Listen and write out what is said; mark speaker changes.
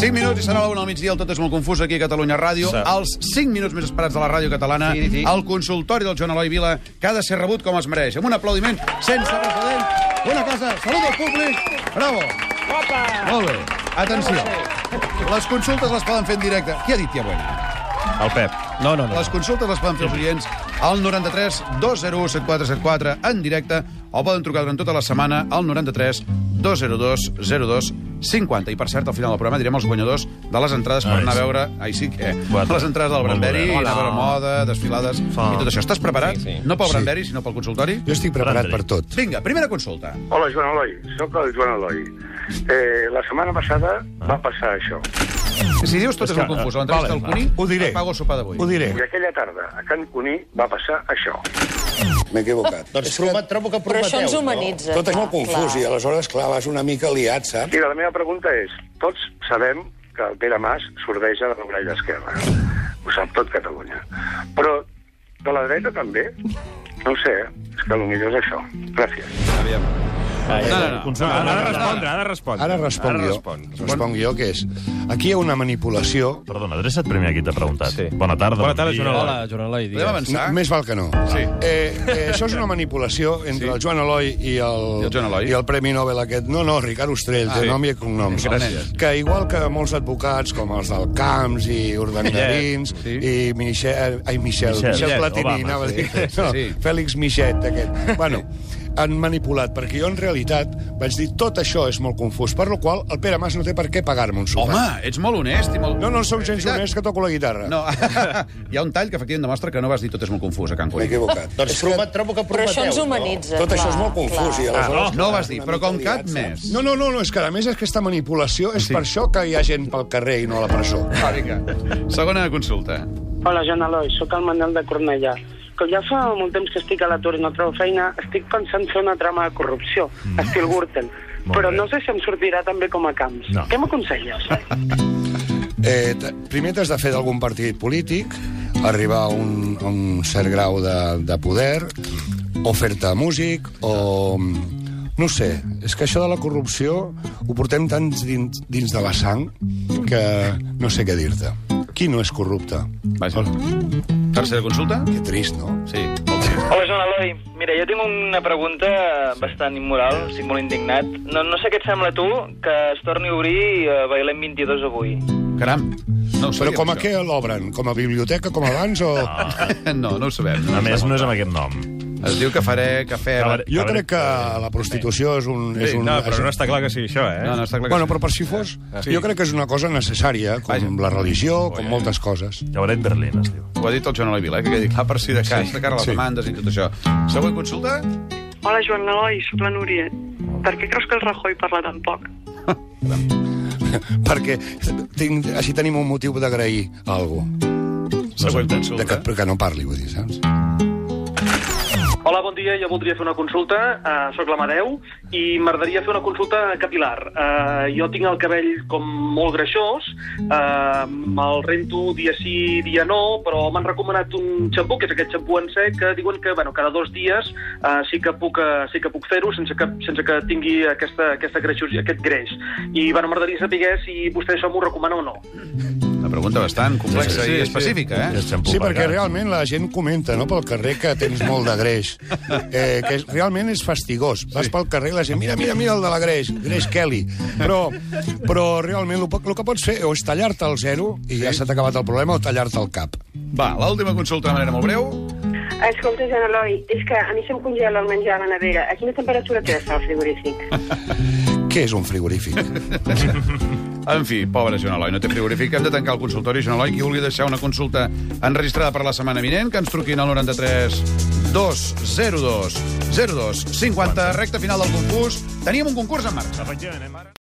Speaker 1: 5 minuts i serà la 1 al migdia, el tot és molt confús aquí a Catalunya Ràdio.
Speaker 2: Sí.
Speaker 1: Els 5 minuts més esperats de la ràdio catalana,
Speaker 3: Sí, sí.
Speaker 1: el consultori del Joan Eloi Vila, que ha de ser rebut com es mereix. Amb un aplaudiment sense precedent. Bona casa, salut al públic. Bravo. Molt bé. Atenció. Les consultes les poden fer en directe. Qui ha dit tia Bueno?
Speaker 2: El Pep. No, no, no.
Speaker 1: Les consultes les poden fer els oients al 93 201 7474 en directe o poden trucar durant tota la setmana al 93 202 02 50. I, per cert, al final del programa direm els guanyadors de les entrades per
Speaker 2: Ai,
Speaker 1: anar a
Speaker 2: sí.
Speaker 1: veure... Ai, sí, que...
Speaker 2: Bueno,
Speaker 1: Les entrades del
Speaker 2: molt
Speaker 1: Brandberry,
Speaker 2: bé.
Speaker 1: i anar a veure moda, desfilades
Speaker 2: Ah.
Speaker 1: i tot això. Estàs preparat?
Speaker 3: Sí, sí.
Speaker 1: No pel
Speaker 4: Sí.
Speaker 1: Brandberry, sinó pel consultori?
Speaker 4: Jo estic preparat per tot.
Speaker 1: Vinga, primera consulta.
Speaker 5: Hola, Joan Eloi. Sóc el Joan Eloi. Eh, la setmana passada va passar això.
Speaker 1: Si dius tot és
Speaker 2: que,
Speaker 1: molt confús.
Speaker 2: eh,
Speaker 1: L'entrevista
Speaker 2: vale,
Speaker 1: del Cuní,
Speaker 4: Ho diré.
Speaker 1: et pago el sopar d'avui.
Speaker 4: Ho diré.
Speaker 5: I aquella tarda, a Can Cuní, va passar això.
Speaker 6: M'he equivocat.
Speaker 7: Doncs promet, trobo que
Speaker 8: Però
Speaker 7: prometeu.
Speaker 8: això ens
Speaker 7: no?
Speaker 8: humanitza.
Speaker 6: Tot és
Speaker 8: clar,
Speaker 6: molt confús i
Speaker 8: clar.
Speaker 6: aleshores, clar, vas una mica liat, saps?
Speaker 5: Mira, la meva pregunta és, tots sabem que el Pere Mas sordeja de l'orella esquerra. Ho sap tot Catalunya. Però de la dreta també? No ho sé, eh? és que potser és això. Gràcies.
Speaker 1: No, no, no.
Speaker 2: Consola, ha de respondre, ha de respondre.
Speaker 4: Ara responc
Speaker 2: Ara
Speaker 4: jo.
Speaker 2: respon.
Speaker 4: Responc jo, que és... Aquí hi ha una manipulació...
Speaker 9: Perdona, adreça't primer a qui t'ha preguntat.
Speaker 3: Sí.
Speaker 9: Bona tarda.
Speaker 2: Bona tarda,
Speaker 9: bon dia.
Speaker 2: Joan Eloi.
Speaker 3: Hola, Joan Eloi,
Speaker 1: Podem
Speaker 3: digues.
Speaker 4: No,
Speaker 1: avançar?
Speaker 4: més val que no.
Speaker 1: Sí.
Speaker 4: Eh, eh, això és una manipulació entre
Speaker 1: Sí.
Speaker 4: el Joan Eloi i el,
Speaker 1: I el Joan Eloi.
Speaker 4: i el Premi Nobel aquest. No, no, Ricard Ostrell,
Speaker 1: Ah,
Speaker 4: de
Speaker 1: sí.
Speaker 4: nom i cognoms.
Speaker 1: Gràcies.
Speaker 4: Que igual que molts advocats, com els del Camps i Urdangarins
Speaker 1: Sí.
Speaker 4: i Michel... Ai,
Speaker 9: Michel.
Speaker 4: Michel, Michel, Michel
Speaker 9: Michel,
Speaker 4: Platini,
Speaker 9: Obama,
Speaker 4: anava a
Speaker 9: sí.
Speaker 4: dir.
Speaker 1: Sí, sí,
Speaker 4: No,
Speaker 1: sí.
Speaker 4: Fèlix Michet, aquest. Bueno, han manipulat, perquè jo en realitat vaig dir tot això és molt confús, per lo qual el Pere Mas no té per què pagar-me un sopar.
Speaker 1: Home, ets molt honest i molt...
Speaker 4: No, no, som gens
Speaker 1: Veritat.
Speaker 4: honest que toco la guitarra.
Speaker 1: No, hi ha un tall que efectivament demostra que no vas dir tot és molt confús a Can
Speaker 6: M'he
Speaker 1: Cuní.
Speaker 6: equivocat.
Speaker 7: Doncs promet, trobo que
Speaker 8: Però
Speaker 7: prometeu.
Speaker 8: això ens
Speaker 7: no?
Speaker 8: humanitza.
Speaker 6: Tot això
Speaker 8: clar,
Speaker 6: és molt confús i
Speaker 8: clar.
Speaker 4: Ah,
Speaker 6: aleshores...
Speaker 1: Ah, No ho
Speaker 6: clar,
Speaker 1: vas dir,
Speaker 6: una
Speaker 1: però
Speaker 6: mica
Speaker 1: com cap
Speaker 6: liat,
Speaker 1: més.
Speaker 4: eh? No, no, no, no, és que a més aquesta manipulació és sí. per això que hi ha gent pel carrer i no a la presó.
Speaker 1: Va, vinga. Segona consulta.
Speaker 10: Hola, Joan Eloi, sóc el Manel de Cornellà. Com ja fa molt temps que estic a l'atur i no trobo feina, estic pensant fer una trama de corrupció, mm. estil Gürtel.
Speaker 9: Molt
Speaker 10: Però
Speaker 9: bé.
Speaker 10: no sé si em sortirà també com a Camps.
Speaker 9: No.
Speaker 10: Què m'aconselles?
Speaker 4: Eh, t- primer t'has de fer d'algun partit polític, arribar a un, a un cert grau de, de poder, o fer-te músic, o... No ho sé, és que això de la corrupció ho portem tant dins, dins de la sang que no sé què dir-te. Qui no és corrupte?
Speaker 1: Vaja. Tercera consulta?
Speaker 4: Que trist, no?
Speaker 1: Sí. Oh, molt bé.
Speaker 10: Hola, Joan Eloi. Mira, jo tinc una pregunta bastant immoral, estic molt indignat. No, no sé què et sembla tu que es torni a obrir eh, Bailem 22 avui.
Speaker 1: Caram. No ho
Speaker 4: Però
Speaker 1: sabíem,
Speaker 4: com a
Speaker 1: això.
Speaker 4: què l'obren? Com a biblioteca, com abans, o...?
Speaker 1: No, no ho sabem. No
Speaker 9: A
Speaker 1: ho
Speaker 9: més,
Speaker 1: sabem.
Speaker 9: no és amb aquest nom.
Speaker 1: Es diu que faré cafè...
Speaker 9: Cabaret.
Speaker 4: Jo
Speaker 9: A veure,
Speaker 4: crec que la prostitució és un... És
Speaker 2: Sí,
Speaker 4: un
Speaker 2: no, però no està clar que sigui això, eh?
Speaker 1: No, no, està clar que
Speaker 4: Bueno,
Speaker 1: sí.
Speaker 4: però per si fos, sí. jo crec que és una cosa necessària, com
Speaker 1: Vaja.
Speaker 4: la religió, com moltes coses.
Speaker 9: Cabaret Berlín, es diu.
Speaker 1: Ho ha dit el Joan Eloi Vila, eh, que quedi clar per si de cas, de cara a les
Speaker 4: sí.
Speaker 1: demandes i tot això. Següent consulta?
Speaker 10: Hola, Joan Eloi, sóc la Núria. Per què creus que el Rajoy parla tan poc?
Speaker 4: Perquè tinc, així tenim un motiu d'agrair a algú.
Speaker 1: Següent
Speaker 4: De que,
Speaker 1: consulta.
Speaker 4: però que no parli, vull dir, saps?
Speaker 10: Hola, bon dia. Jo voldria fer una consulta. Uh, soc l'Amadeu i m'agradaria fer una consulta capilar. Uh, jo tinc el cabell com molt greixós, uh, me'l rento dia sí, dia no, però m'han recomanat un xampú, que és aquest xampú en sec, que diuen que bueno, cada dos dies uh, sí que puc, uh, sí que puc fer-ho sense, que, sense que tingui aquesta, aquesta greixos, aquest greix. I bueno, m'agradaria saber si vostè això m'ho recomana o no.
Speaker 1: Una pregunta bastant
Speaker 9: Sí,
Speaker 1: complexa
Speaker 9: sí,
Speaker 1: i
Speaker 9: sí.
Speaker 1: específica, eh?
Speaker 4: Sí, perquè realment la gent comenta, no?, pel carrer que tens molt de greix. Eh, que és, realment és fastigós. Vas pel carrer i la gent, mira, mira, mira el de la greix, greix Kelly. Però, però realment el, el que pots fer o és tallar-te el zero i ja s'ha acabat el problema, o tallar-te el cap.
Speaker 1: Va, l'última consulta de manera molt breu.
Speaker 10: Escolta, Joan Eloi, és que a mi se'm congela el menjar a la nevera. A quina temperatura té el frigorífic?
Speaker 4: Què és un frigorífic?
Speaker 1: En fi, pobre Joan Eloi, no té frigorífic. Hem de tancar el consultori, Joan Eloi. Qui vulgui deixar una consulta enregistrada per la setmana vinent, que ens truquin al 93 202 02 50. Recte final del concurs. Teníem un concurs en marxa.
Speaker 9: Efectivament, eh, mare?